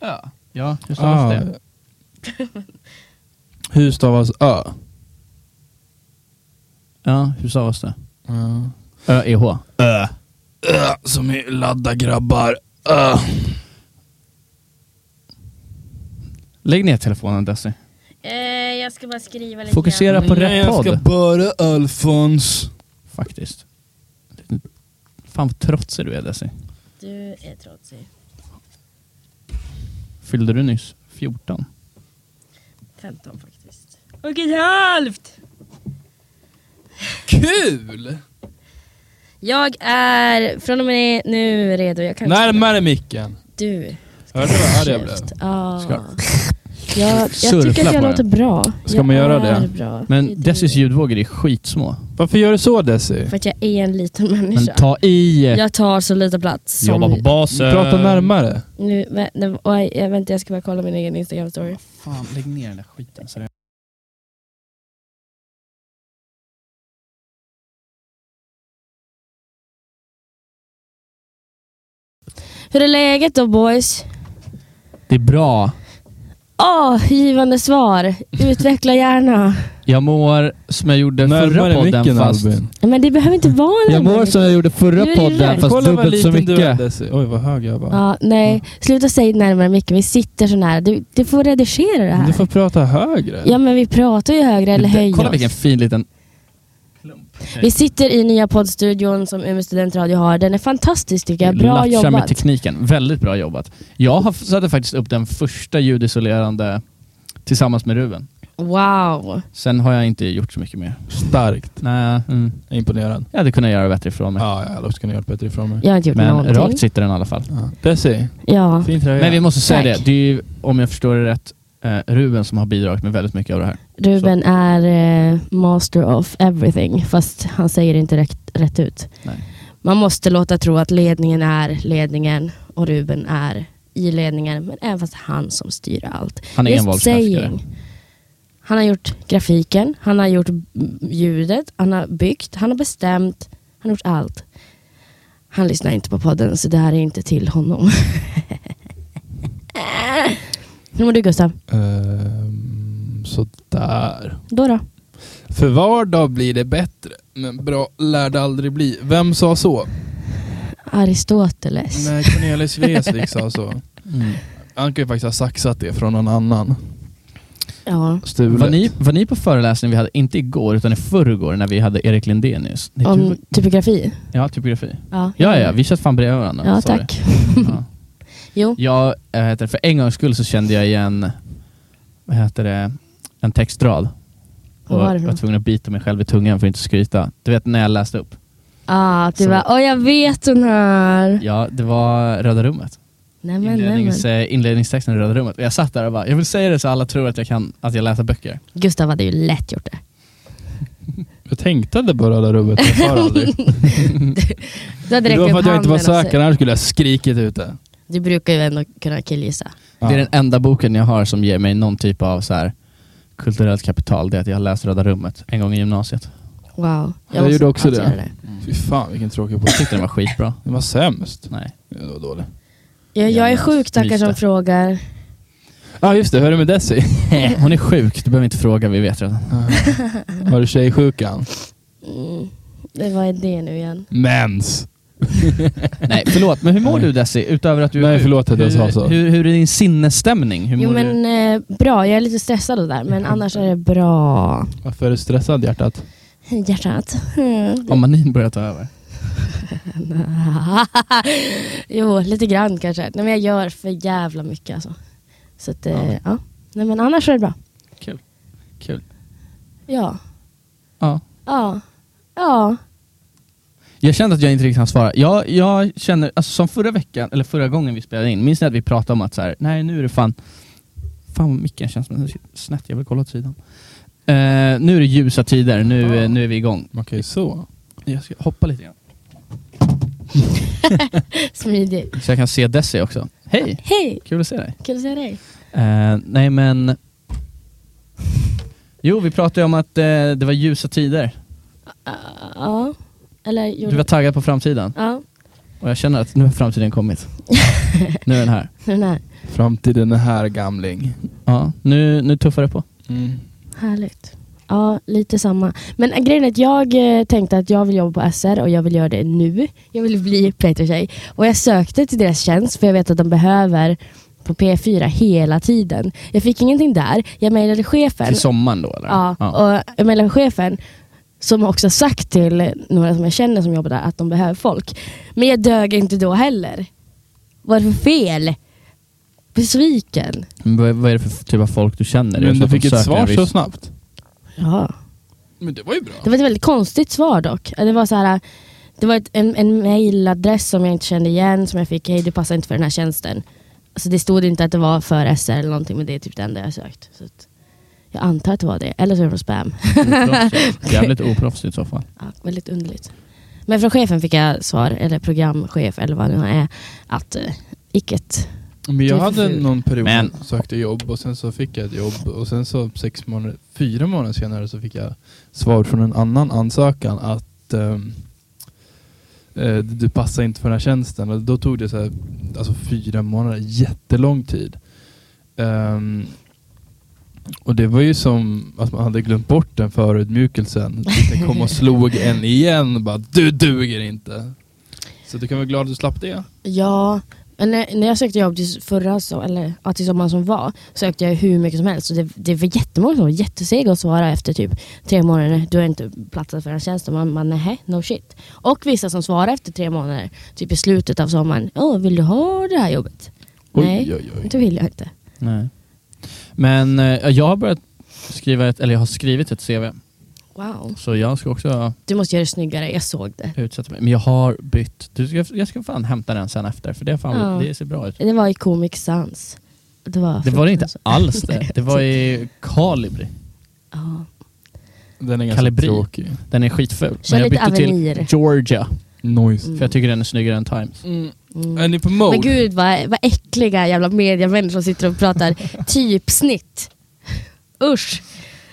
Ö. Ja, hur stavas Ah. det? Hur stavas ö? Ja, hur stavas det? E, Ja. Ö-E-H. Ö. Ö. Som i ladda grabbar. Ö. Lägg ner telefonen Desi. Eh, jag ska bara skriva lite Fokusera på Nej, rätt jag ska podd. bara Alfons. Faktiskt. Fan vad trotsig du är Desi. grann. Du är trotsig. Fyllde du nyss 14? 15 faktiskt. Och ett halvt! Kul! Jag är från och med nu redo. Jag kan Närmare micken. Du. Hörde du vad arg jag blev? Ja. Ska- Jag, jag Surfla tycker att på jag den. låter bra. Ska jag man göra är det? Bra. Det är Men du. Desis ljudvågor är skitsmå. Varför gör du så Desi? För att jag är en liten Men människa. ta i! Jag tar så lite plats som... Jobba på basen. Prata närmare. Nu, vä- nej, oj, jag- vänta, jag ska bara kolla min egen Instagram-story. Fan, lägg ner den där skiten. seriöst. Hur är läget då boys? Det är bra. Åh, givande svar. Utveckla gärna. Jag mår som jag gjorde förra Närmare podden micken fast... Albin. Men det behöver inte vara Jag mår som jag gjorde Nu är förra det podden rätt. fast dubbelt så du är mycket. Desi. Oj vad hög jag var. Ja, nej. Sluta säga närmare mycket. Vi sitter så nära. Du, du får redigera det Men Du här. får prata högre. Ja, men vi pratar ju högre eller höjer Kolla oss. vilken fin liten... Vi sitter i nya poddstudion som Umeå studentradio har. Den är fantastisk tycker jag. Bra Latcha med jobbat. tekniken. Väldigt bra jobbat. Jag har- satte faktiskt upp den första ljudisolerande tillsammans med Ruben. Wow. Sen har jag inte gjort så mycket mer. Starkt. Nej, mm. Imponerad. jag hade kunnat göra bättre ifrån mig. Ja, jag hade också kunnat göra bättre ifrån mig. Jag har inte gjort Men någonting. rakt sitter den i alla fall. Ja. Desi, Ja. fin tröja. Men vi måste säga Tack. det, det är ju, om jag förstår det rätt, eh, Ruben som har bidragit med väldigt mycket av det här. Ruben är eh, master of everything. Fast han säger det inte rätt, rätt ut. Nej. Man måste låta tro att ledningen är ledningen och Ruben är i ledningen. Men även fast han som styr allt. Han är Just envåldshärskare. saying. Han har gjort grafiken, han har gjort m- ljudet, han har byggt, han har bestämt, han har gjort allt. Han lyssnar inte på podden så det här är inte till honom. Hur mår du Gustav? Ehm, sådär. Då då? För var dag blir det bättre, men bra lär det aldrig bli. Vem sa så? Aristoteles. Nej, Cornelis Vreeswijk sa så. Mm. Han kan ju faktiskt ha saxat det från någon annan. Ja. Stulet. Var ni, var ni på föreläsningen vi hade, inte igår utan i förrgår när vi hade Erik Lindenius? Nej, Om typ du, typografi? ja, typografi. Ja, Ja, ja, vi satt fan bredvid varandra. ja Sorry. tack. Ja. Jo. Jag, eh, heter, det, för en gångs skull så kände jag igen, vad heter det, en textrad. Vad Och var det jag för var något? tvungen att bita mig själv i tungan för att inte skryta. Du vet när jag läste upp? Ah, du Så- bara, åh jag vet den här. Ja, det var Röda rummet. Nej men, nej, men. Inlednings, eh, inledningstexten i Röda rummet. Och jag satt där och bara, jag vill säga det så alla tror att jag kan, att jag läser böcker. Gustav hade ju lätt gjort det. Jag tänkte det på röda rubbet, men jag sa det aldrig. Du hade Det räckt var upp för att jag inte var handen och säker, annars skulle jag skrikit ut det. Du brukar ju ändå kunna killgissa. Ja. Det är den enda boken jag har som ger mig någon typ av så här kulturellt kapital. Det är att jag har läst Röda rummet en gång i gymnasiet. Wow. Jag måste gjorde också alltid det. göra Fy fan vilken tråkig Jag politik. tyckte den var skitbra. Den var sämst. Nej. Ja, det var dålig. Jag, jag är Jävla sjuk tackar som myste. frågar. Ja ah, just det, hur är det med Desi? Hon är sjuk, du behöver inte fråga, vi vet redan. Har du tjejsjukan? Mm. Det var det nu igen. Mens! Nej, förlåt. Men hur mår du Desi? Utöver att du är Nej, sjuk? förlåt att jag hur, sa så. Hur, hur är din sinnesstämning? Hur Jo mår du? men eh, bra, jag är lite stressad och där men annars är det bra. Varför är du stressad hjärtat? Hej, Hjärtat. Mm. Om manin börjar ta över. jo, lite grann kanske. Nej, men jag gör för jävla mycket alltså. Så att, eh, ja. Nej, men annars är det bra. Kul. Ja. Ja. Ja. Ja. Jag kände att jag inte riktigt hann svara. Jag, jag känner, alltså, som förra veckan, eller förra gången vi spelade in, minns ni att vi pratade om att så här, nej nu är det fan, fan vad micken känns som den sitter snett, jag vill kolla åt sidan. Eh, nu är det ljusa tider, nu, eh, nu är vi igång. Man kan ju så. Jag ska hoppa lite grann. Smidig. Så jag kan se Desi också. Hej! Hej! Kul att se dig. Kul att se dig. Eh, nej men... Jo, vi pratade ju om att eh, det var ljusa tider. Ja. Eller Du var gjorde... taggad på framtiden Ja. och jag känner att nu har framtiden kommit. Nu är den här. Den här. Framtiden är här gamling. Ja, nu, nu tuffar det på. Mm. Härligt. Ja, lite samma. Men eh, grejen är att jag eh, tänkte att jag vill jobba på SR och jag vill göra det nu. Jag vill bli Playter-tjej. Och jag sökte till deras tjänst för jag vet att de behöver på P4 hela tiden. Jag fick ingenting där. Jag mejlade chefen. Till sommaren då eller? Ja, och jag mejlade chefen som också har sagt till några som jag känner som jobbar där att de behöver folk. Men jag dög inte då heller. Vad är det för fel? Besviken. Men vad, vad är det för f- typ av folk du känner? Är det Men så du att de fick ett söker en svar viss- så snabbt. Ja. Men det var ju bra. Det var ett väldigt konstigt svar dock. Det var så här, det var ett, en, en mailadress som jag inte kände igen som jag fick. Hej, du passar inte för den här tjänsten. Alltså det stod inte att det var för SR eller någonting men det är typ det enda jag har sökt. Så att jag antar att det var det. Eller så är det från spam. Oproffsigt. Jävligt oproffsigt i så fall. Ja, väldigt underligt. Men från chefen fick jag svar, eller programchef eller vad det nu är, att eh, icket. Men jag Det är hade ful. någon period Men- som sökte jobb och sen så fick jag ett jobb och sen så sex månader, fyra månader senare så fick jag svar från en annan ansökan att ehm, eh, du passar inte för den här tjänsten. Och då tog det så här, alltså fyra månader, jättelång tid. Ehm, och det var ju som att man hade glömt bort den förödmjukelsen. Den kom och slog en igen bara du duger inte. Så du kan vara glad att du slapp det. Ja, men när, när jag sökte jobb till förra så, eller ja, till sommaren som var, sökte jag hur mycket som helst. Och det, det var jättemånga som var jättesega att svara efter typ tre månader, du har inte platsat för den här tjänsten. Man, man nähä, no shit. Och vissa som svarade efter tre månader, typ i slutet av sommaren, åh, vill du ha det här jobbet? Nej, oj, oj. det vill jag inte. Nej. Men eh, jag har börjat skriva ett, eller jag har skrivit ett CV. Wow. Så jag ska också Du måste göra det snyggare, jag såg det. utsätta mig. Men jag har bytt. Du ska, jag ska fan hämta den sen efter för det, är fan, Ja. det ser bra ut. Det var i Comic Sans. Det var, Det var det inte fruktansvärt. alls det. Det var i Kalibri. Ja. Den är ganska Kalibri. tråkig. Den är skitful. Kör Men jag lite bytte till Avenir. Georgia. Noise. För jag tycker den är snyggare än Times. Mm. Mm. Är ni på mode? Men gud vad, vad äckliga jävla mediamänniskor som sitter och pratar typsnitt. Usch.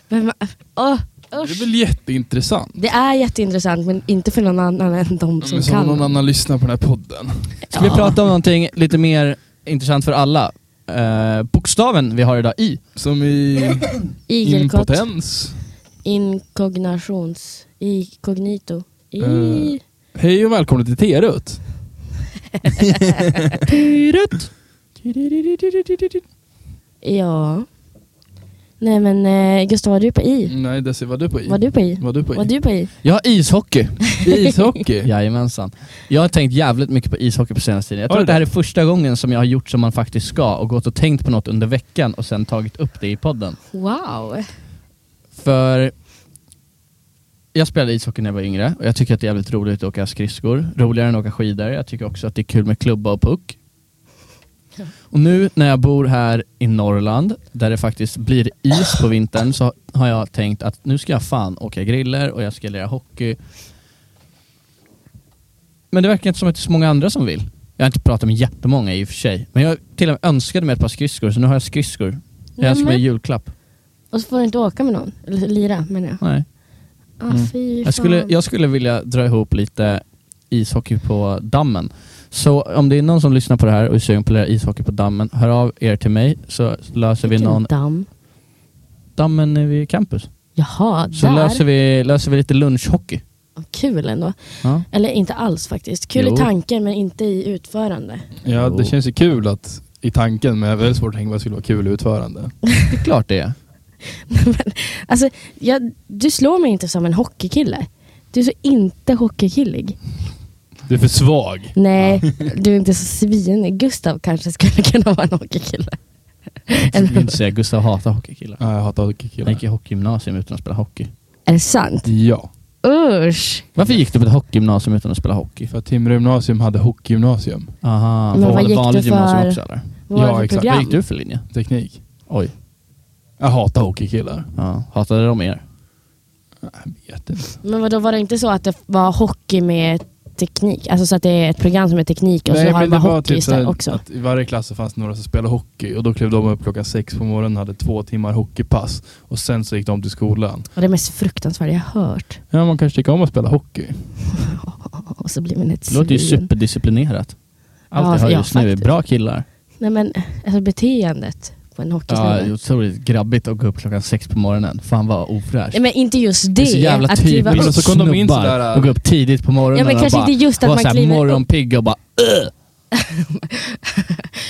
Vem, åh, det är usch. väl jätteintressant? Det är jätteintressant men inte för någon annan än de som Men så Mm. kan. någon annan lyssnar på den här podden. Ska vi Ja. prata om någonting lite mer intressant för alla? Eh, bokstaven vi har idag, I. Som i Igelkott. impotens. Inkognations... Inkognito. I... Eh. Hej och välkomna till Terut. Pyret. Ja. Nej men eh, Gustav, var du på I? Nej Desi, var du på i? Var du på I? Mm. Var du på i? Var du på I? Jag har ishockey. Ishockey? Jajamensan. Jag har tänkt jävligt mycket på ishockey på senaste tiden. Jag Har tror du att det här är första gången som jag har gjort som man faktiskt ska och gått och tänkt på något under veckan och sen tagit upp det i podden. Wow. För jag spelade ishockey när jag var yngre och jag tycker att det är jävligt roligt att åka skridskor. Roligare än att åka skidor. Jag tycker också att det är kul med klubba och puck. Och nu när jag bor här i Norrland, där det faktiskt blir is på vintern, så har jag tänkt att nu ska jag fan åka griller och jag ska lira hockey. Men det verkar inte som att det är så många andra som vill. Jag har inte pratat med jättemånga i och för sig. Men jag till och med önskade mig ett par skridskor, så nu har jag skridskor. Jag önskar mig Nämen. julklapp. Och så får du inte åka med någon. Eller lira menar jag. Nej. Ah, Mm. fy fan. Jag skulle, jag skulle vilja dra ihop lite ishockey på dammen. Så om det är någon som lyssnar på det här och är sugen på att lära ishockey på dammen, hör av er till mig så löser vi Vilken någon... damm. Dammen är vid campus. Jaha, Så där. löser vi, löser vi lite lunchhockey. Vad Kul ändå. Ja. Eller inte alls faktiskt. Kul Jo. i tanken men inte i utförande. Ja, Jo. det känns ju kul att i tanken, men jag är väldigt svårt att tänka vad det skulle vara kul utförande. Det är klart det är. Alltså, jag, du slår mig inte som en hockeykille. Du är så inte hockeykillig. Du är för svag. Nej, du är inte så svinig. Gustav kanske skulle kunna vara en hockeykille. Jag vill inte säga Gustav hatar hockeykillar. Ja, jag hatar Han hockeykillar. gick i hockeygymnasium utan att spela hockey. Är det sant? Ja, Usch! Varför gick du på ett hockeygymnasium utan att spela hockey? för att Timrå gymnasium hade hockeygymnasium. Aha, Men var vad det gick vanligt du för- gymnasium också eller? Vad Ja, var det för Vad exakt. program? gick du för linje? Teknik. Oj. Jag hatar hockeykillar. Ja, hatade de er? Jag vet inte. Men vadå, var det inte så att det var hockey med teknik? Alltså så att det är ett program som är teknik och så har men de bara det var hockey typ istället såhär också? Att I varje klass så fanns det några som spelade hockey och då klev de upp klockan sex på morgonen och hade två timmar hockeypass och sen så gick de till skolan. Och det är mest fruktansvärda jag har hört. Ja, man kanske tycker om att spela hockey. Och så blir man ett Det låter ju svin. superdisciplinerat. Allt Ja, jag hör ja, just nu är faktiskt. bra killar. Nej men alltså beteendet på en Ja, det är hockeysnubbe. otroligt grabbigt att gå upp klockan sex på morgonen. Fan vad ofräscht. Nej men inte just det. är så jävla att typiskt kliva Men att upp. så kom de in snubbar sådär, och gå upp tidigt på morgonen Ja men och kanske bara inte just att vara man såhär kliver upp. morgonpigg och bara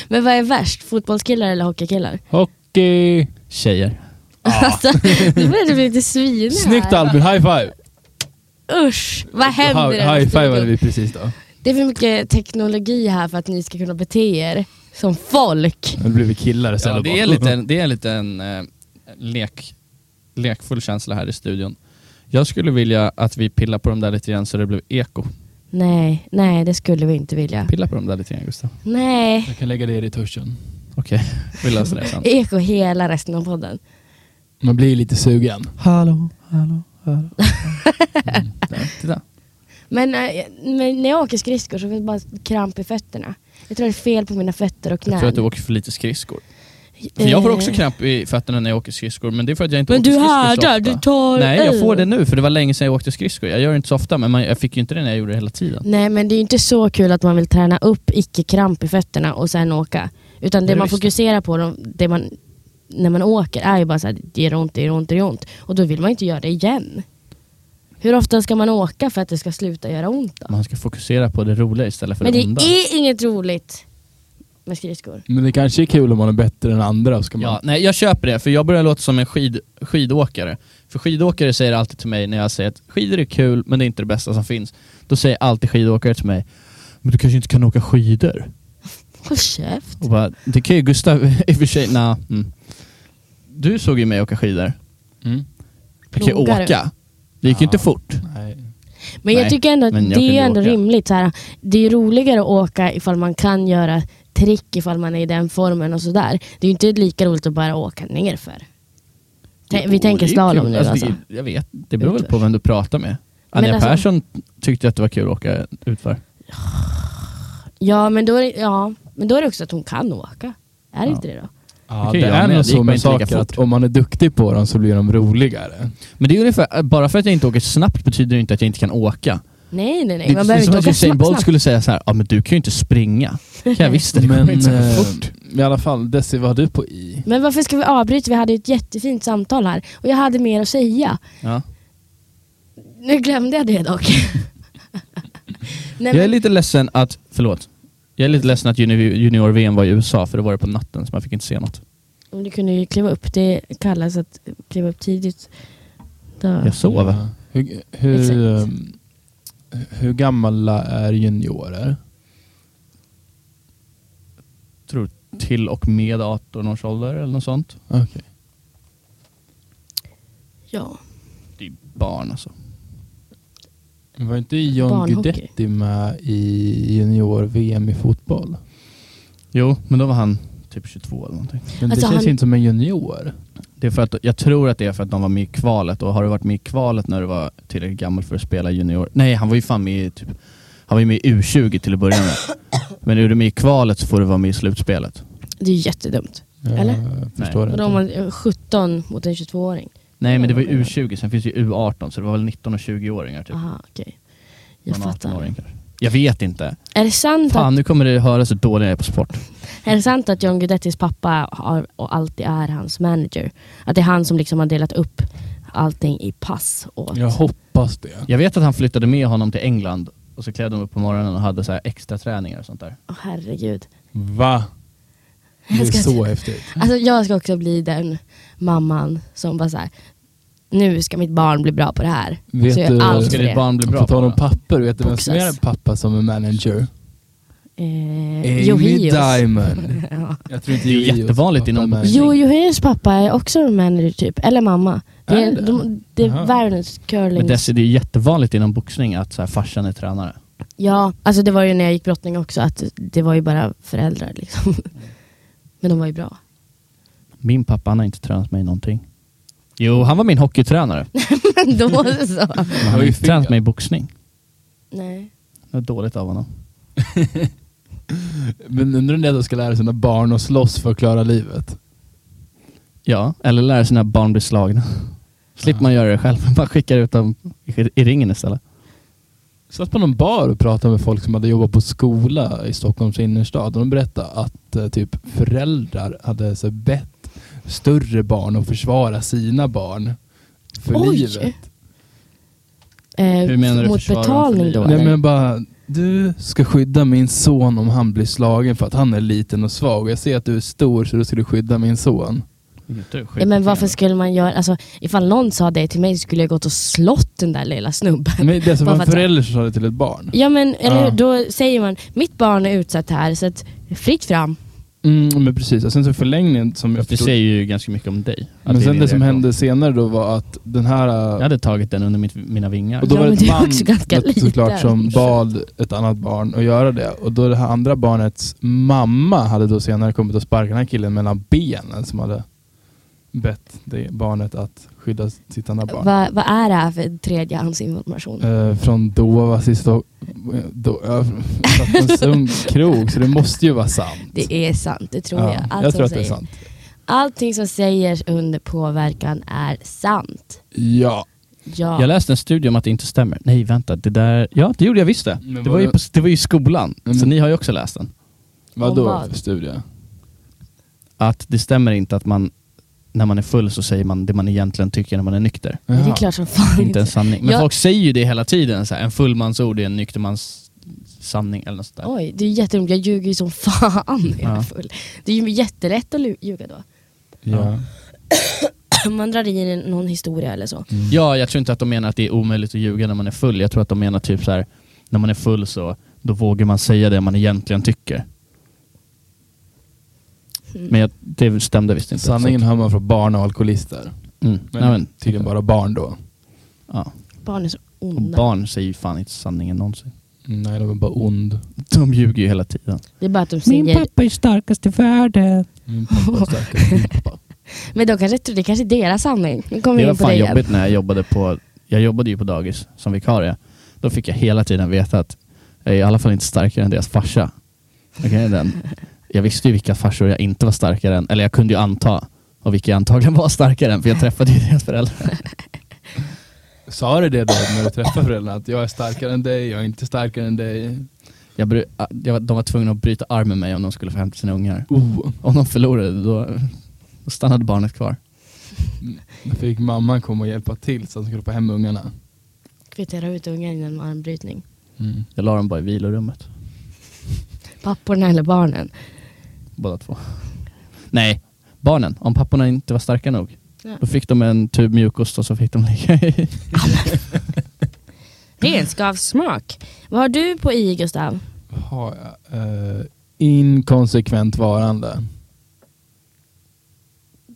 Men vad är värst? Fotbollskillar eller hockeykillar? Hockey! tjejer. Alltså, nu börjar det bli lite svinig Snyggt här. Albin, high five! Usch, vad händer i den här High fiveade studion? vi precis då. Det är för mycket teknologi här för att ni ska kunna bete er som folk. Nu blev vi killar istället. Ja, det, är lite, det är lite en eh, lek, lekfull känsla här i studion. Jag skulle vilja att vi pillar på dem där lite grann så det blev eko. Nej, nej det skulle vi inte vilja. Pilla på dem där lite grann Gustav. Nej. Jag kan lägga det i retuschen. Okej, vi löser det sen. Eko hela resten av podden. Man blir lite sugen. Hallå, hallå, hallå. Där, titta. Men, eh, men när jag åker skridskor så får jag bara kramp i fötterna. Jag tror det är fel på mina fötter och knän. Jag tror att du åker för lite skridskor. För jag får också kramp i fötterna när jag åker skridskor men det är för att jag inte Eh. Men åker du skridskor så härdar, ofta. du tar Nej, i. jag får det nu för det var länge sedan jag åkte skridskor. Jag gör det inte så ofta men man, jag fick ju inte det när jag gjorde det hela tiden. Nej men det är ju inte så kul att man vill träna upp icke-kramp i fötterna och sen åka. Utan Det det, är man visst. fokuserar på de- det man, när man åker är ju bara såhär, det gör ont, det gör ont, det gör ont. Och då vill man ju inte göra det igen. Hur ofta ska man åka för att det ska sluta göra ont då? Man ska fokusera på det roliga istället för Men det det onda. är inget roligt med skridskor. Men det kanske är kul om man är bättre än andra. Ska man... Ja, nej, jag köper det, för jag börjar låta som en skid, skidåkare. För skidåkare säger alltid till mig när jag säger att skidor är kul men det är inte det bästa som finns. Då säger alltid skidåkare till mig men du kanske inte kan åka skidor? Håll käft. Och bara, det kan ju Gustav i och för sig, nah, mm. Du såg ju mig åka skidor. Mm. Jag kan ju Plogare. åka. Det gick ju inte Ja. fort. Nej. Men Nej, jag tycker ändå att men jag det kunde är ändå åka. rimligt. Så här, det är ju roligare att åka ifall man kan göra trick ifall man är i den formen och sådär. Det är ju inte lika roligt att bara åka nerför. Tän- vi Jo, tänker det är slalom kul. nu Alltså, alltså. det- Jag vet, det beror väl på vem du pratar med. Men Anja alltså- Persson tyckte att det var kul att åka utför. Ja men, då är det, ja, men då är det också att hon kan åka. Är det Ja. inte det då? Ja, Okej, det ja, är men det nog gick så bara med inte lika saker fort. att om man är duktig på dem så blir de roligare. Men det är ungefär, bara för att jag inte åker snabbt betyder det inte att jag inte kan åka. Nej det nej nej, är man som behöver inte att åka Usain snabbt. Bolt snabbt. skulle säga så här, ja men du kan ju inte springa. Kan jag visst det, det Men går inte så här eh, fort. i alla fall, Desi, vad har du på i? Men varför ska vi avbryta? Vi hade ju ett jättefint samtal här och jag hade mer att säga. Ja. Nu glömde jag det dock. nej, Jag är men, lite ledsen att, förlåt, jag är lite ledsen att junior- junior-VM var i USA för det var det på natten så man fick inte se något. om du kunde ju kliva upp, det kallas att kliva upp tidigt. Då. Jag sov. Ja. Hur, hur, Exakt. ehm, hur gamla är juniorer? Tror till och med 18 års ålder eller något sånt. Okej. Ja. Det är barn alltså. Var inte John Barnhockey. Guidetti med i junior-VM i fotboll? Jo, men då var han typ 22 eller någonting. Men Alltså, det känns han- inte som en junior. Det är för att, jag tror att det är för att de var med i kvalet och har du varit med i kvalet när du var tillräckligt gammal för att spela junior? Nej, han var ju fan med i typ, han var ju med i U20 till att börja med. Men är du med i kvalet så får du vara med i slutspelet. Det är jättedumt. Jag Eller? förstår Och då inte. har man eh, 17 mot en 22-åring. Nej men det var ju U20, sen finns det ju U18 så det var väl 19 och 20-åringar typ. Aha, okej. Jag Någon 18-åring fattar. kanske. Jag vet inte. Är det, sant att, Fan nu kommer det höras hur dålig jag är på sport. är det sant att John Guidettis pappa har, och alltid är hans manager? Att det är han som liksom har delat upp allting i pass åt... Jag hoppas det. Jag vet att han flyttade med honom till England och så klädde de upp på morgonen och hade så här extra träningar och sånt där. Åh, herregud. Va? Det är Jag ska- så häftigt. Alltså, jag ska också bli den mamman som bara så här. nu ska mitt barn bli bra på det här. Vet så jag du- gör allt Ska för ditt det. barn bli bra På tal på om det? papper, vet du vem som är Boxas. en pappa som är manager? Eh, Johios. Diamond. Ja. Jag tror inte Det är Johios jättevanligt pappa inom är manager. boxning. Jo, Johios pappa är också en manager typ, eller mamma. Det Är är, det? de, det Aha. är världens Men curling. dess, det är jättevanligt inom boxning att så här, farsan är tränare. Ja, alltså det var ju när jag gick brottning också, att det var ju bara föräldrar liksom. Men de var ju bra. Min pappa han har inte tränat mig någonting. Jo, han var min hockeytränare. Men då så. Men han har ju inte fel. tränat mig i boxning. Nej. Det var dåligt av honom. Men undrar om det är att de ska lära sina barn att slåss för att klara livet? Ja, eller lära sina barn bli slagna. Slipper man göra det själv. Man skickar ut dem i i ringen istället. satt på någon bar och pratade med folk som hade jobbat på skola i Stockholms innerstad. Och de berättade att eh, typ föräldrar hade så här, bett större barn att försvara sina barn för Oj! livet. Eh, Hur menar du mot försvara dem för betalning då? livet? Nej eller? men bara, du ska skydda min son om han blir slagen för att han är liten och svag. Och Jag ser att du är stor så du skulle skydda min son. Ja, men varför skulle man göra, alltså ifall någon sa det till mig så skulle jag gått och slått den där lilla snubben. Men det är alltså Bara en för att- förälder som sa det till ett barn. Ja men eller Ja. hur? då säger man, mitt barn är utsatt här så att fritt fram. Mm, men precis, och sen så i förlängningen som jag Det förstod. säger ju ganska mycket om dig. Att Men är sen din det som reaktion. hände senare då var att den här... Jag hade tagit den under mitt, mina vingar. Och då Ja, var det men ett du är man också ganska då- såklart liten. som bad ett annat barn att göra det. Och då det här andra barnets mamma hade då senare kommit och sparkat den här killen mellan benen som hade bett det barnet att skydda sitt andra barn. Vad vad är det här för tredjehandsinformation? Eh, från Dovas i Stockholm. krog, så det måste ju vara sant. Det är sant, det tror jag. Allt jag som tror att det säger. är sant. Allting som sägs under påverkan är sant. Ja. Ja. Jag läste en studie om att det inte stämmer. Nej vänta, det där... Ja det gjorde jag visst det. Men Det vad var, ju det- på, det var ju i skolan. Mm. Så ni har ju också läst den. Vadå Om vad? vad? för studie? Att det stämmer inte att man, när man är full så säger man det man egentligen tycker när man är nykter. Men det är Jaha. klart som fan Inte en sanning. Men Jag- folk säger ju det hela tiden. Så här, en fullmansord är en nyktermans sanning eller något sånt där. Oj, det är jätteroligt. Jag ljuger ju som fan när jag Ja. är full. Det är ju jättelätt att lu- ljuga då. Ja. Man drar in någon historia eller så. Mm. Ja, jag tror inte att de menar att det är omöjligt att ljuga när man är full. Jag tror att de menar typ så här, när man är full så då vågar man säga det man egentligen tycker. Mm. Men jag, det stämde visst inte. Sanningen Så hör man från barn och alkoholister. att- mm. Men, Nej, men tydligen bara barn då. Ja. Barn är så Och onda. barn säger ju fan inte sanningen någonsin. Mm, Nej, de är bara ond. De ljuger ju hela tiden. Det är bara att de säger... pappa är starkast i världen. Min Mm, pappa är starkare än din pappa. Men de kanske tror det är kanske är deras sanning. Nu Det kommer vi var in på det fan igen. jobbigt när jag jobbade på, jag jobbade ju på dagis som vikarie. Då fick jag hela tiden veta att jag är i alla fall inte starkare än deras farsa. Okej, den. Jag visste ju vilka farsor jag inte var starkare än, eller jag kunde ju anta och vilka jag antagligen var starkare än för jag träffade ju deras föräldrar. Sa du det då när du träffade föräldrarna? Att jag är starkare än dig, jag är inte starkare än dig. Jag bry, jag, var- de var tvungna att bryta arm med mig om de skulle få hem sina ungar. Oh. Om de förlorade då, då stannade barnet kvar. Då fick mamman komma och hjälpa till så att de skulle få hem ungarna. Kvittera ut ungen innan armbrytning. Mm. Jag la dem bara i vilorummet, Papporna eller barnen. båda två. Nej, barnen. Om papporna inte var starka nog, Ja. då fick de en tub mjukost och så fick de ligga i. Renskavssmak. Vad har du på i Gustav? Har jag? Eh, inkonsekvent varande.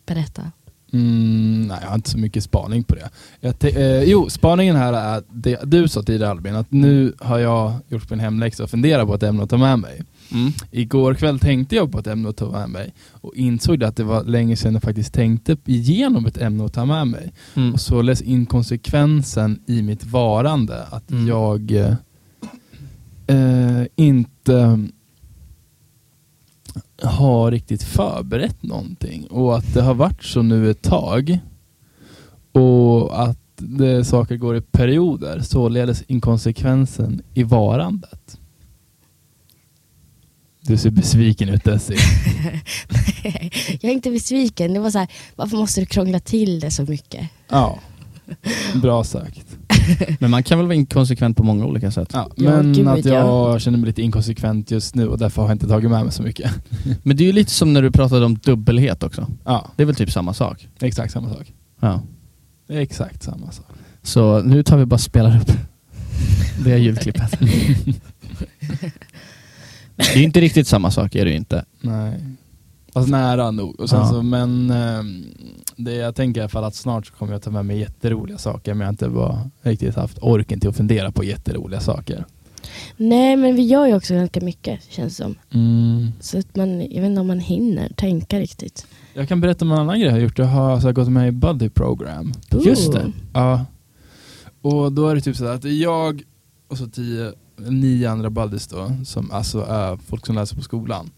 Berätta. Mm, nej, jag har inte så mycket spaning på det. Jag te- eh, jo, spaningen här är det du sa tidigare Albin, att nu har jag gjort min hemläxa och funderat på ett ämne att ta med mig. Igår kväll tänkte jag på ett ämne att ta med mig och insåg att det var länge sedan jag faktiskt tänkte igenom ett ämne att ta med mig. Mm. Och således inkonsekvensen i mitt varande. Att Mm. jag eh, eh, inte har riktigt förberett någonting. Och att det har varit så nu ett tag. Och att det, saker går i perioder. Således inkonsekvensen i varandet. Du ser besviken ut Desi. Jag är inte besviken. Det var så här, varför måste du krångla till det så mycket? ja, bra sagt. Men man kan väl vara inkonsekvent på många olika sätt. Ja, Ja, men gud, att jag ja. känner mig lite inkonsekvent just nu och därför har jag inte tagit med mig så mycket. Men det är ju lite som när du pratade om dubbelhet också. Ja, Det är väl typ samma sak? exakt samma sak. Ja. Det är Exakt samma sak. Så nu tar vi bara och spelar upp det ljudklippet. det är ju inte riktigt samma sak, är det ju inte. Nej. Alltså nära nog. Och sen Ja. så, men ehm, det jag tänker i alla fall att snart så kommer jag ta med mig jätteroliga saker men jag har inte bara riktigt haft orken till att fundera på jätteroliga saker. Nej, men vi gör ju också ganska mycket känns det som. Mm. Så att man, jag vet inte om man hinner tänka riktigt. Jag kan berätta om en annan grej jag har gjort. Jag har alltså gått med i Buddy Program. Ooh. Just det. Ja. Och då är det typ så här att det är jag och så tio, nio andra buddies då, som alltså är folk som läser på skolan.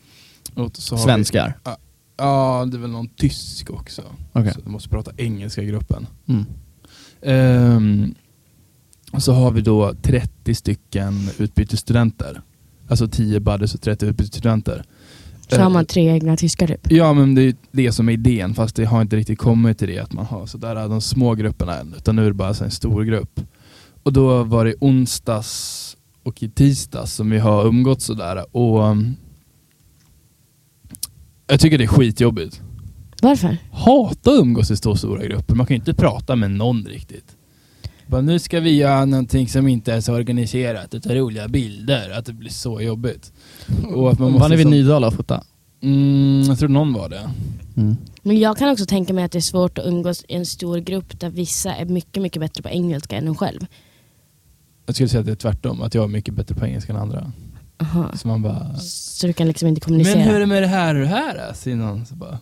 Och så har Svenskar. Vi, ja, det är väl någon tysk också. Okej. Så de måste prata engelska i gruppen. Mm. Ehm, så har vi då 30 stycken utbytesstudenter. Alltså 10 badders och 30 utbytesstudenter. Så har Eh, man tre egna tyskar typ. Ja men det är det som är idén fast det har inte riktigt kommit till det att man har sådär de små grupperna än utan nu är det bara så en stor grupp. Och då var det i onsdags och i tisdags som vi har umgått sådär och um, jag tycker det är skitjobbigt. Varför? Hata att umgås i så stora grupper, man kan ju inte prata med någon riktigt. Bara, nu ska vi göra någonting som inte är så organiserat, utan roliga bilder, att det blir så jobbigt. Och att man Man måste liksom- var ni vid som- Nydala och fota? Mm. Mm, jag tror någon var det. Men jag kan också tänka mig att det är svårt att umgås i en stor grupp där vissa är mycket, mycket bättre på engelska än en själv. Jag skulle säga att det är tvärtom, att jag är mycket bättre på engelska än andra. Aha. Så man bara... Så du kan liksom inte kommunicera. Men hur är det med det här och det här? då?" Säger någon så bara...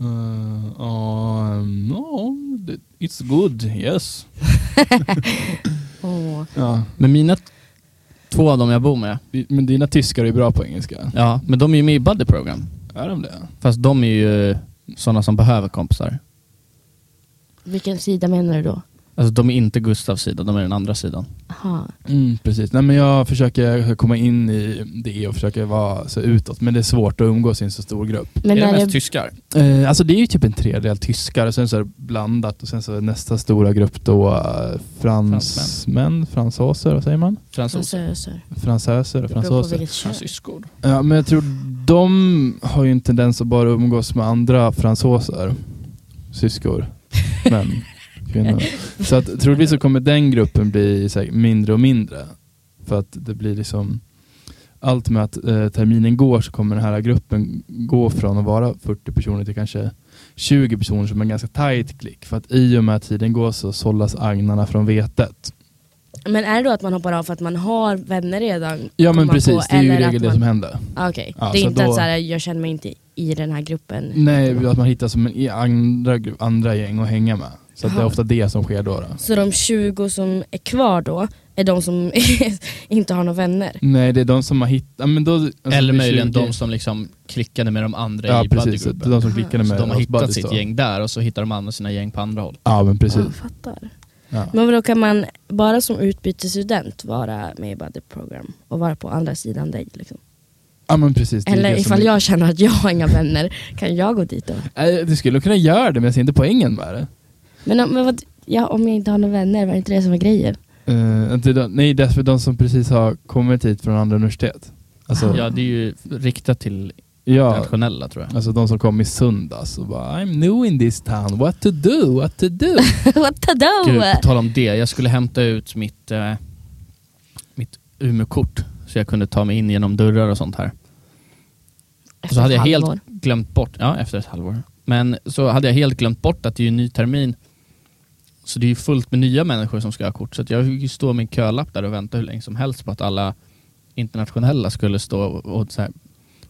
"Eh, ja, mm, ja, det- it's good, yes. Åh. Ja. Men mina t- två av dem jag bor med, Men dina tyskar är bra på engelska. ja, men de är ju med i Buddy Program. Är de det? Fast de är ju sådana som behöver kompisar. Vilken sida menar du då? Alltså de är inte Gustavs sida, de är den andra sidan. Aha. Mm, precis. Nej, men jag försöker komma in i det och försöker vara så utåt, men det är svårt att umgås i en så stor grupp. Men är det när mest det, tyskar? Eh, alltså det är ju typ en tredjedel tyskar och sen så är det blandat och sen så är nästa stora grupp då eh, fransmän, fransoser, vad säger man? Alltså, Fransoser? Fransöser. Fransöser och Det beror på fransoser. vilket kön. Fransyskor? Ja, men jag tror de har ju en tendens att bara umgås med andra fransoser. Syskor. Män. Kvinnor. Så att, troligtvis så kommer den gruppen bli så här, mindre och mindre. För att det blir liksom allt med att eh, terminen går så kommer den här gruppen gå från att vara 40 personer till kanske 20 personer som är en ganska tight klick. För att i och med att tiden går så sållas agnarna från vetet. Men är det då att man hoppar av för att man har vänner redan? Ja kommer men man precis, på, det är ju i eller regel att det man- som händer. Ah, Okej, Ja, det är så då- inte Mm. att så här, jag känner mig inte i den här gruppen. Nej, att man hittar som en, i andra, gru- andra gäng att hänga med. Så att det är Aha. ofta det som sker då. då. Så de 20 som är kvar då är de som inte har några vänner? Nej, det är de som har hittat... Men då, alltså, Eller det är möjligen 20 de som liksom klickade med de andra Ja, i precis. precis, så Det är de som klickade med Så de har oss hittat buddies sitt då. gäng där och så hittar de andra sina gäng på andra håll. Ja, men precis. Ja, fattar. Ja. Men vadå, kan man bara som utbytesstudent vara med i Buddy Program och vara på andra sidan dig? Liksom? ja, men precis. det är Eller det som ifall är- jag känner att jag har inga vänner, kan jag gå dit då? Nej, du skulle kunna göra det, men jag ser inte poängen med det. Men, om- men vad, ja, om jag inte har några vänner, var det inte det som var grejen? Eh, inte de, nej, det är för de som precis har kommit hit från andra universitet. Alltså, Ja, det är ju riktat till ja, internationella tror jag. alltså de som kom i söndags och bara I'm new in this town, what to do, what to do. What the Gud, do? på tal om det. Jag skulle hämta ut mitt, eh, mitt Umeå-kort så jag kunde ta mig in genom dörrar och sånt här. Efter Så hade jag ett helt halvår. glömt bort, ja efter ett halvår. Men så hade jag helt glömt bort att det är ju en ny termin. Så det är ju fullt med nya människor som ska ha kort. Så att jag fick ju stå med en kölapp där och vänta hur länge som helst på att alla internationella skulle stå och, och så här,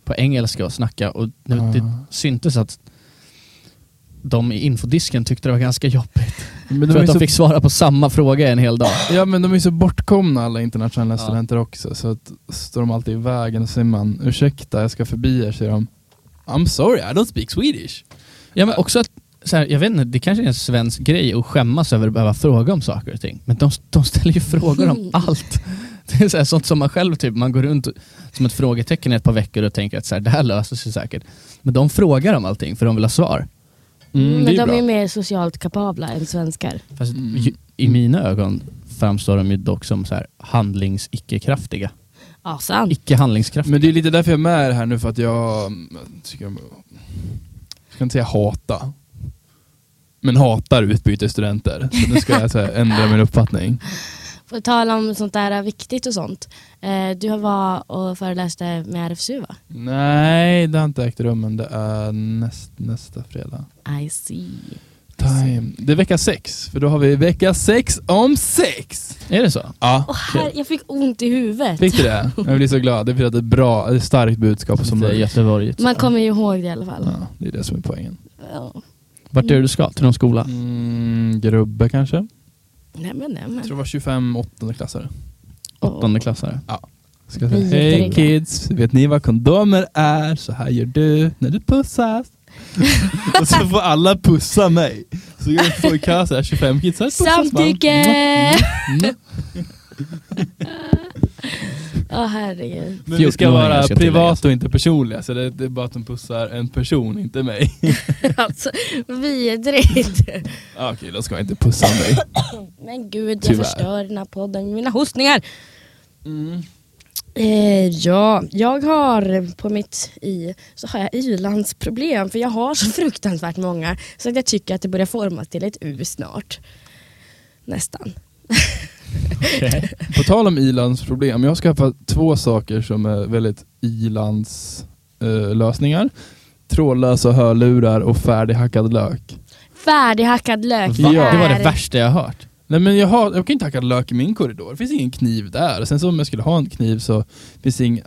på engelska och snacka. Och nu, Ja. det syntes att de i infodisken tyckte det var ganska jobbigt. Men För är att de så- fick svara på samma fråga en hel dag. Ja men de är så bortkomna alla internationella Ja. studenter också så att står de alltid i vägen och säger man ursäkta jag ska förbi er säger de I'm sorry I don't speak Swedish. Ja men också att, så här, jag vet inte, det kanske är en svensk grej att skämmas över att behöva fråga om saker och ting. Men de, de ställer ju frågor om Mm. allt. Det är så här, sånt som man själv typ, man går runt och- som ett frågetecken i ett par veckor och tänker att så här, det här löser sig säkert. Men de frågar om allting för de vill ha svar. Mm, Men Mm, det de är bra. är mer socialt kapabla än svenskar. Fast Mm. ju, i mina ögon framstår de ju dock som så här, handlings icke-kraftiga. Ja, sant. Icke-handlingskraftiga. Men det är lite därför jag är med här nu för att jag mm, tycker om, jag ska inte säga hata men hatar utbytesstudenter. Så nu ska jag så här, ändra min uppfattning. På tal om sånt där viktigt och sånt. Eh, du var och föreläste med RFSU va? Nej det har inte ägt rum men det är näst, nästa fredag. I see. Time. Det är vecka sex för då har vi vecka sex om sex. Är det så? Ja. Och här, jag fick ont i huvudet. Fick du det? Jag blir så glad. Det betyder att det är ett bra, ett starkt budskap som det är möjligt. Göteborg. Man kommer ju ihåg det i alla fall. Ja, det är det som är poängen. Ja. Vart är det du ska? Till någon skola? Mm, grubbe kanske? Nej men nej Jag men. tror det var 25 åttondeklassare. Åttonde klassare. Ska jag Vi säga, heter hej det. kids, vet ni vad kondomer är? Så här gör du när du pussas. Och så får alla pussa mig. Så går jag på i kö såhär, 25 kids. så här, pussas man. Samtycke! Mm. Ja herregud. Men vi ska 14-åringar vara ska tilläggas. privat och inte personliga, så det, det är bara att de pussar en person, inte mig. Alltså vidrigt. Ah, Okej, då ska jag inte pussa mig. Men gud jag Tyvärr. förstör den här podden med mina hostningar. Mm. Eh, ja, jag har på mitt i så har jag u-landsproblem för jag har så fruktansvärt många så att jag tycker att det börjar formas till ett u snart. Nästan. Okej. På tal om ilandsproblem, jag har skaffat två saker som är väldigt ilandslösningar. Trådlösa hörlurar och färdighackad lök. Färdighackad lök. Va? Det var är- det värsta jag hört. Nej men jag, har, jag kan inte hacka lök i min korridor, det finns ingen kniv där. Sen så om jag skulle ha en kniv så finns det ingen...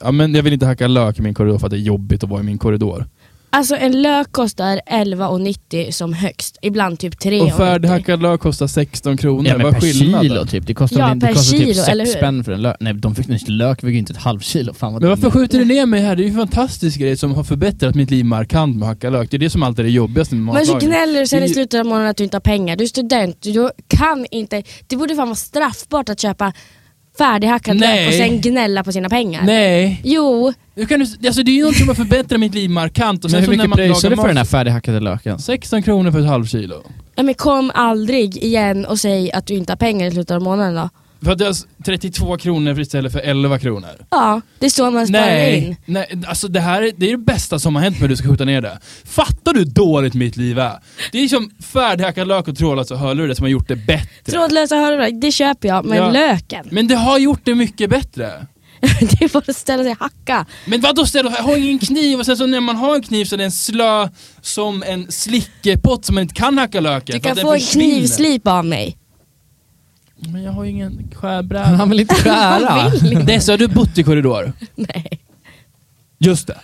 Ja, men jag vill inte hacka lök i min korridor för att det är jobbigt att vara i min korridor. Alltså en lök kostar 11,90 som högst. Ibland typ 3 Och färdighackad lök kostar 16 kronor, Ja, men vad är per skillnaden? kilo typ. Det kostar, Ja, väl- det per kostar kilo, typ eller sex hur? spänn för en lök. Nej, de fick en lök väger ju inte ett halvkilo. Fan vad Men varför dumt. skjuter du ner mig här? Det är ju en fantastisk grej som har förbättrat mitt liv markant med att hacka lök. Det är det som alltid är det jobbigaste med Men så matlagning. gnäller du sen Det i är ju- slutet av månaden att du inte har pengar. Du är student, du kan inte. Det borde fan vara straffbart att köpa färdighackad Nej. lök och sen gnälla på sina pengar. Nej! Jo, Hur kan du, alltså det är ju något som har förbättrat mitt liv markant. Och Men sen hur så när mycket man pröjsar du lagar för den här mat- färdighackade löken? 16 kronor för ett halvkilo. ja, men kom aldrig igen och säg att du inte har pengar i slutet av månaden då. För att det är alltså 32 kronor istället för 11 kronor. Ja, det är så man sparar in. Nej, nej, alltså det här är det, är det bästa som har hänt med att du ska skjuta ner det. Fattar du hur dåligt mitt liv är? Det är som färdighackad lök och trådlös och hörlurar som har gjort det bättre. Trådlösa hörlurar, det köper jag, men Ja. löken, Men det har gjort det mycket bättre. det är bara att ställa sig och hacka. Men vadå ställ jag har ingen kniv och sen så när man har en kniv så är den slö som en slickepott som man inte kan hacka löken Du för att kan den få en försvinner. knivslip av mig. Men jag har ju ingen Han har skärbräda. väl inte skära? Jag vill inte. Dessa, har du bott i korridor? Nej. Just det.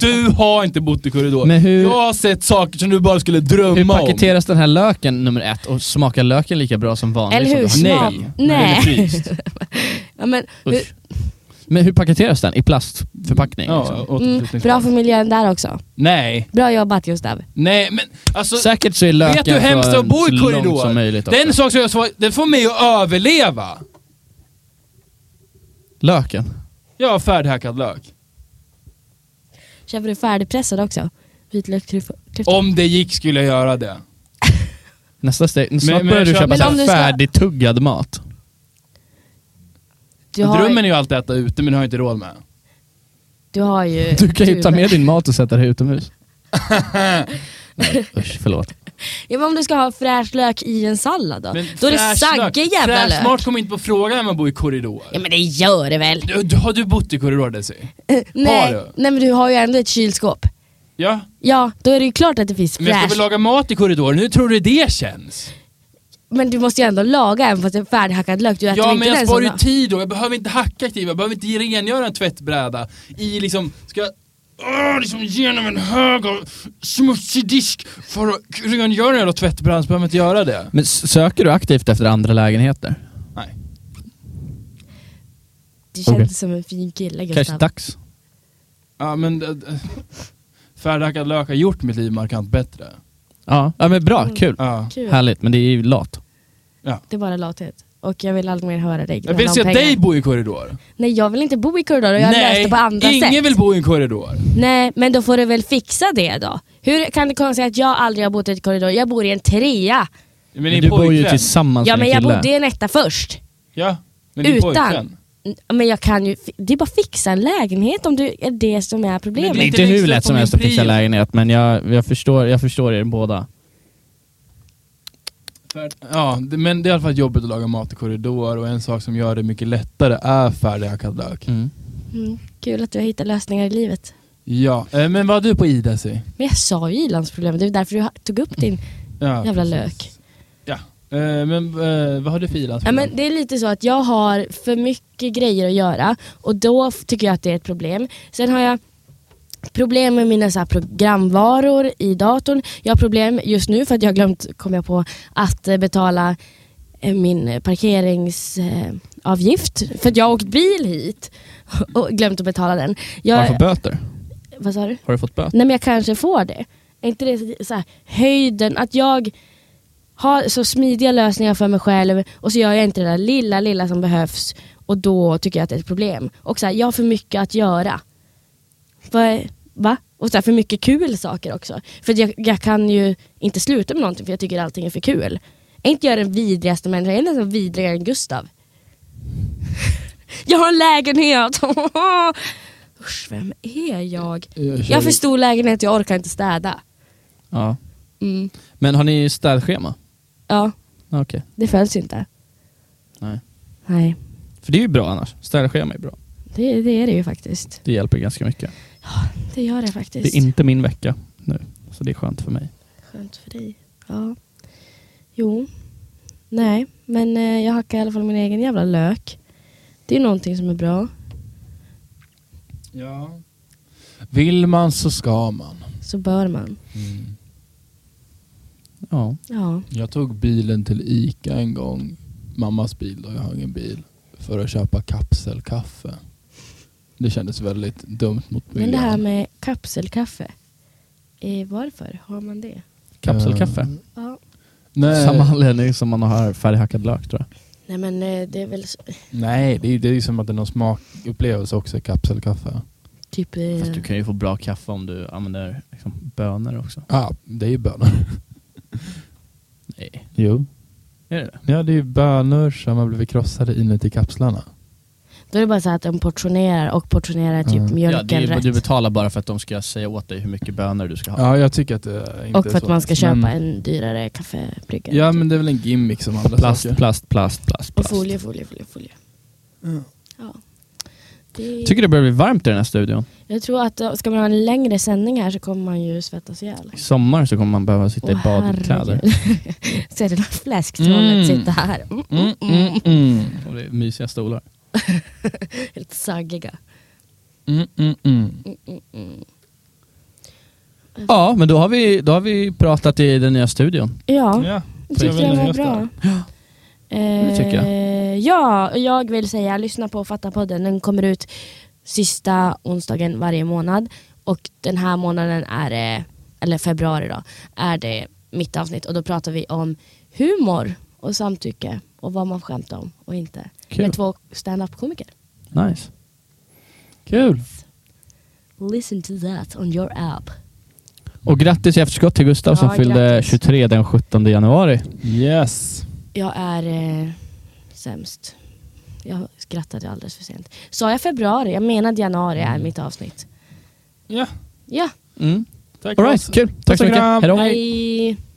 Du har inte bott i korridor. Men hur- jag har sett saker som du bara skulle Hur drömma om. paketeras den här löken nummer ett och smakar löken lika bra som vanlig? Eller som hur? du har- Smak- Nej. Nej. Den är fryst. Ja, men, hur, Usch. Men hur paketeras den? I plastförpackning? Ja, liksom? mm, återflyttningsbar. bra för miljön där också. Nej, Bra jobbat Gustav. nej men alltså. Säkert så är löken Vet du hur hemskt det är att bo i så långt korridor? som möjligt också. Den sak som jag svarar, den får mig att överleva. Löken? Jag har färdighackad lök. Köper du färdigpressad också? Vitlöksklyfta? Om det gick skulle jag göra det. Nästa steg, snart men börjar jag du kör- köpa Men så här om du ska- färdigtuggad mat. Du har, Drömmen är ju alltid att äta ute men det har jag inte råd med. du har ju... Du kan ju ta tur. med din mat och sätta dig utomhus. Nej, usch, förlåt. Ja, men om du ska ha fräsch lök i en sallad då? Men då är det fräsch saggig lök- jävla fräsch lök. Smart kommer inte på frågan när man bor i korridor. Ja men det gör det väl? Du, du, har du bott i korridor Desi? Eh, Nej, du? nej men du har ju ändå ett kylskåp. Ja, Ja, då är det ju klart att det finns men jag ska fräsch. väl laga mat i korridoren, hur tror du det känns? Men du måste ju ändå laga en fast det är färdighackad lök. Du äter Ja ju inte men jag den sparar som- ju tid då, jag behöver inte hacka kniv, jag behöver inte rengöra en tvättbräda i liksom, ska jag Åh, liksom genom en hög av smutsig disk för att rengöra en jävla tvättbräda så behöver jag inte göra det. Men s- söker du aktivt efter andra lägenheter? Nej. Du känns Okej. som en fin kille Gustav. Kanske dags? Ja men äh, färdighackad lök har gjort mitt liv markant bättre. Ja, ja men bra, Mm. kul. Ja. Kul. Härligt, men det är ju lat. Det är bara lathet. Och jag vill aldrig mer höra dig Jag gnälla vill om se pengar. dig bo i korridor. Nej jag vill inte bo i korridor och jag har löst det på andra sätt. ingen vill bo i en korridor. Nej, men då får du väl fixa det då. Hur kan det komma sig att jag aldrig har bott i ett korridor? Jag bor i en trea. Men, Men din du bor ju pojkvän. tillsammans Ja, med men en jag kille. bodde i en etta först. Ja, men din Utan. pojkvän. N- Men jag kan ju, fi- det är bara att fixa en lägenhet om det är det som är problemet. Men Det är inte Lite hur växlar lätt på som min helst att fixa prio. lägenhet, men jag, jag, förstår, jag förstår er båda. Färd- Ja, det- men det är i alla fall jobbigt att laga mat i korridor och en sak som gör det mycket lättare är färdighackad lök. Mm, kul att du har hittat lösningar i livet. Ja, eh, men vad har du på i Desi? Men jag sa ju i-landsproblemet, det är därför du ha- tog upp din Ja, jävla precis. lök. Ja. Eh, Men eh, vad har du för Ja, i-landsproblem? men det är lite så att jag har för mycket grejer att göra och då f- tycker jag att det är ett problem. Sen har jag problem med mina så här programvaror i datorn. Jag har problem just nu för att jag har glömt, kom jag på, att eh, betala eh, min parkeringsavgift. För att jag har åkt bil hit och glömt att betala den. Har du fått Jag, böter? vad sa du? Har du fått böter? Nej men jag kanske får det. Är inte det så- så här, höjden, att jag har så smidiga lösningar för mig själv och så gör jag inte det där lilla, lilla som behövs och då tycker jag att det är ett problem. Och så här, jag har för mycket att göra. Vad- Va? Och så här, för mycket kul saker också. För att jag, jag kan ju inte sluta med någonting för jag tycker allting är för kul. Är inte jag den vidrigaste människan? Jag är nästan vidrigare än Gustav. Jag har en lägenhet! Usch, vem är jag? Eh, Jag har för stor lägenhet, jag orkar inte städa. Ja. Mm. Men har ni städschema? Ja, Okej. det följs inte. Nej. Nej, För det är ju bra annars. Städschema är bra. det, det är det ju faktiskt. Det hjälper ganska mycket. Det gör det Det faktiskt. är inte min vecka nu, så det är skönt för mig. Skönt för dig. Ja. Jo. Nej, men eh, jag hackar i alla fall min egen jävla lök. Det är någonting som är bra. Ja. Vill man så ska man. Så bör man. Mm. Ja. Ja. Jag tog bilen till Ica en gång, mammas bil då, jag har ingen bil, för att köpa kapselkaffe. Det kändes väldigt dumt mot miljön. Men det här med kapselkaffe. Eh, varför har man det? Kapselkaffe. Eh, Ja. nej, Samma anledning som man har färdighackad lök tror jag. Nej men eh, det är väl s- nej det, är- det är ju som att det är någon smakupplevelse också, kapselkaffe. typ... eh, Fast du kan ju få bra kaffe om du använder liksom, bönor också. Ja, ah, det är ju bönor. Nej. Jo. Är det det? Ja, det är ju bönor som har blivit krossade inuti kapslarna. Då är det bara så här att de portionerar och portionerar typ Mm. Ja, det mjölken är, rätt. du betalar bara för att de ska säga åt dig hur mycket bönor du ska ha. Ja, jag tycker att det är inte och för att så man ska nice, köpa men- en typ. dyrare kaffebrygga. Ja, men det är väl en gimmick som andra Plast, saker. plast, plast, plast, Och plast. folie, folie, folie, folie. Ja. Det... Tycker det börjar bli varmt i den här studion. Jag tror att eh, ska man ha en längre sändning här så kommer man ju svettas ihjäl. I sommar så kommer man behöva sitta i Åh, badkläder. herregud. Ser du något fläsktrålet Mm. sitta här? Mm, Mm, mm, mm. Och det är mysiga stolar. Helt saggiga. Mm, mm, mm. Mm, mm, mm. Ja, men då har, vi, då har vi pratat i den nya studion. Ja, Ja, det tycker jag var Just det. bra. det tycker jag. Eh, ja, och jag vill säga lyssna på Fatta-podden. Den kommer ut sista onsdagen varje månad. Och den här månaden är det, eller februari då, är det mitt avsnitt. Och då pratar vi om humor och samtycke och vad man skämtar om och inte. Kul. Med två stand-up-komiker. Nice. Kul. Listen to that on your app. Och grattis i efterskott till Gustav som Ja, fyllde grattis. 23 23 den 17 januari. Yes. Jag är eh, sämst. Jag skrattade alldeles för sent. Sa jag februari? Jag menade januari är mitt avsnitt. Ja, Ja, Mm. tack All right, kul. Tack så mycket. Hej då. hej.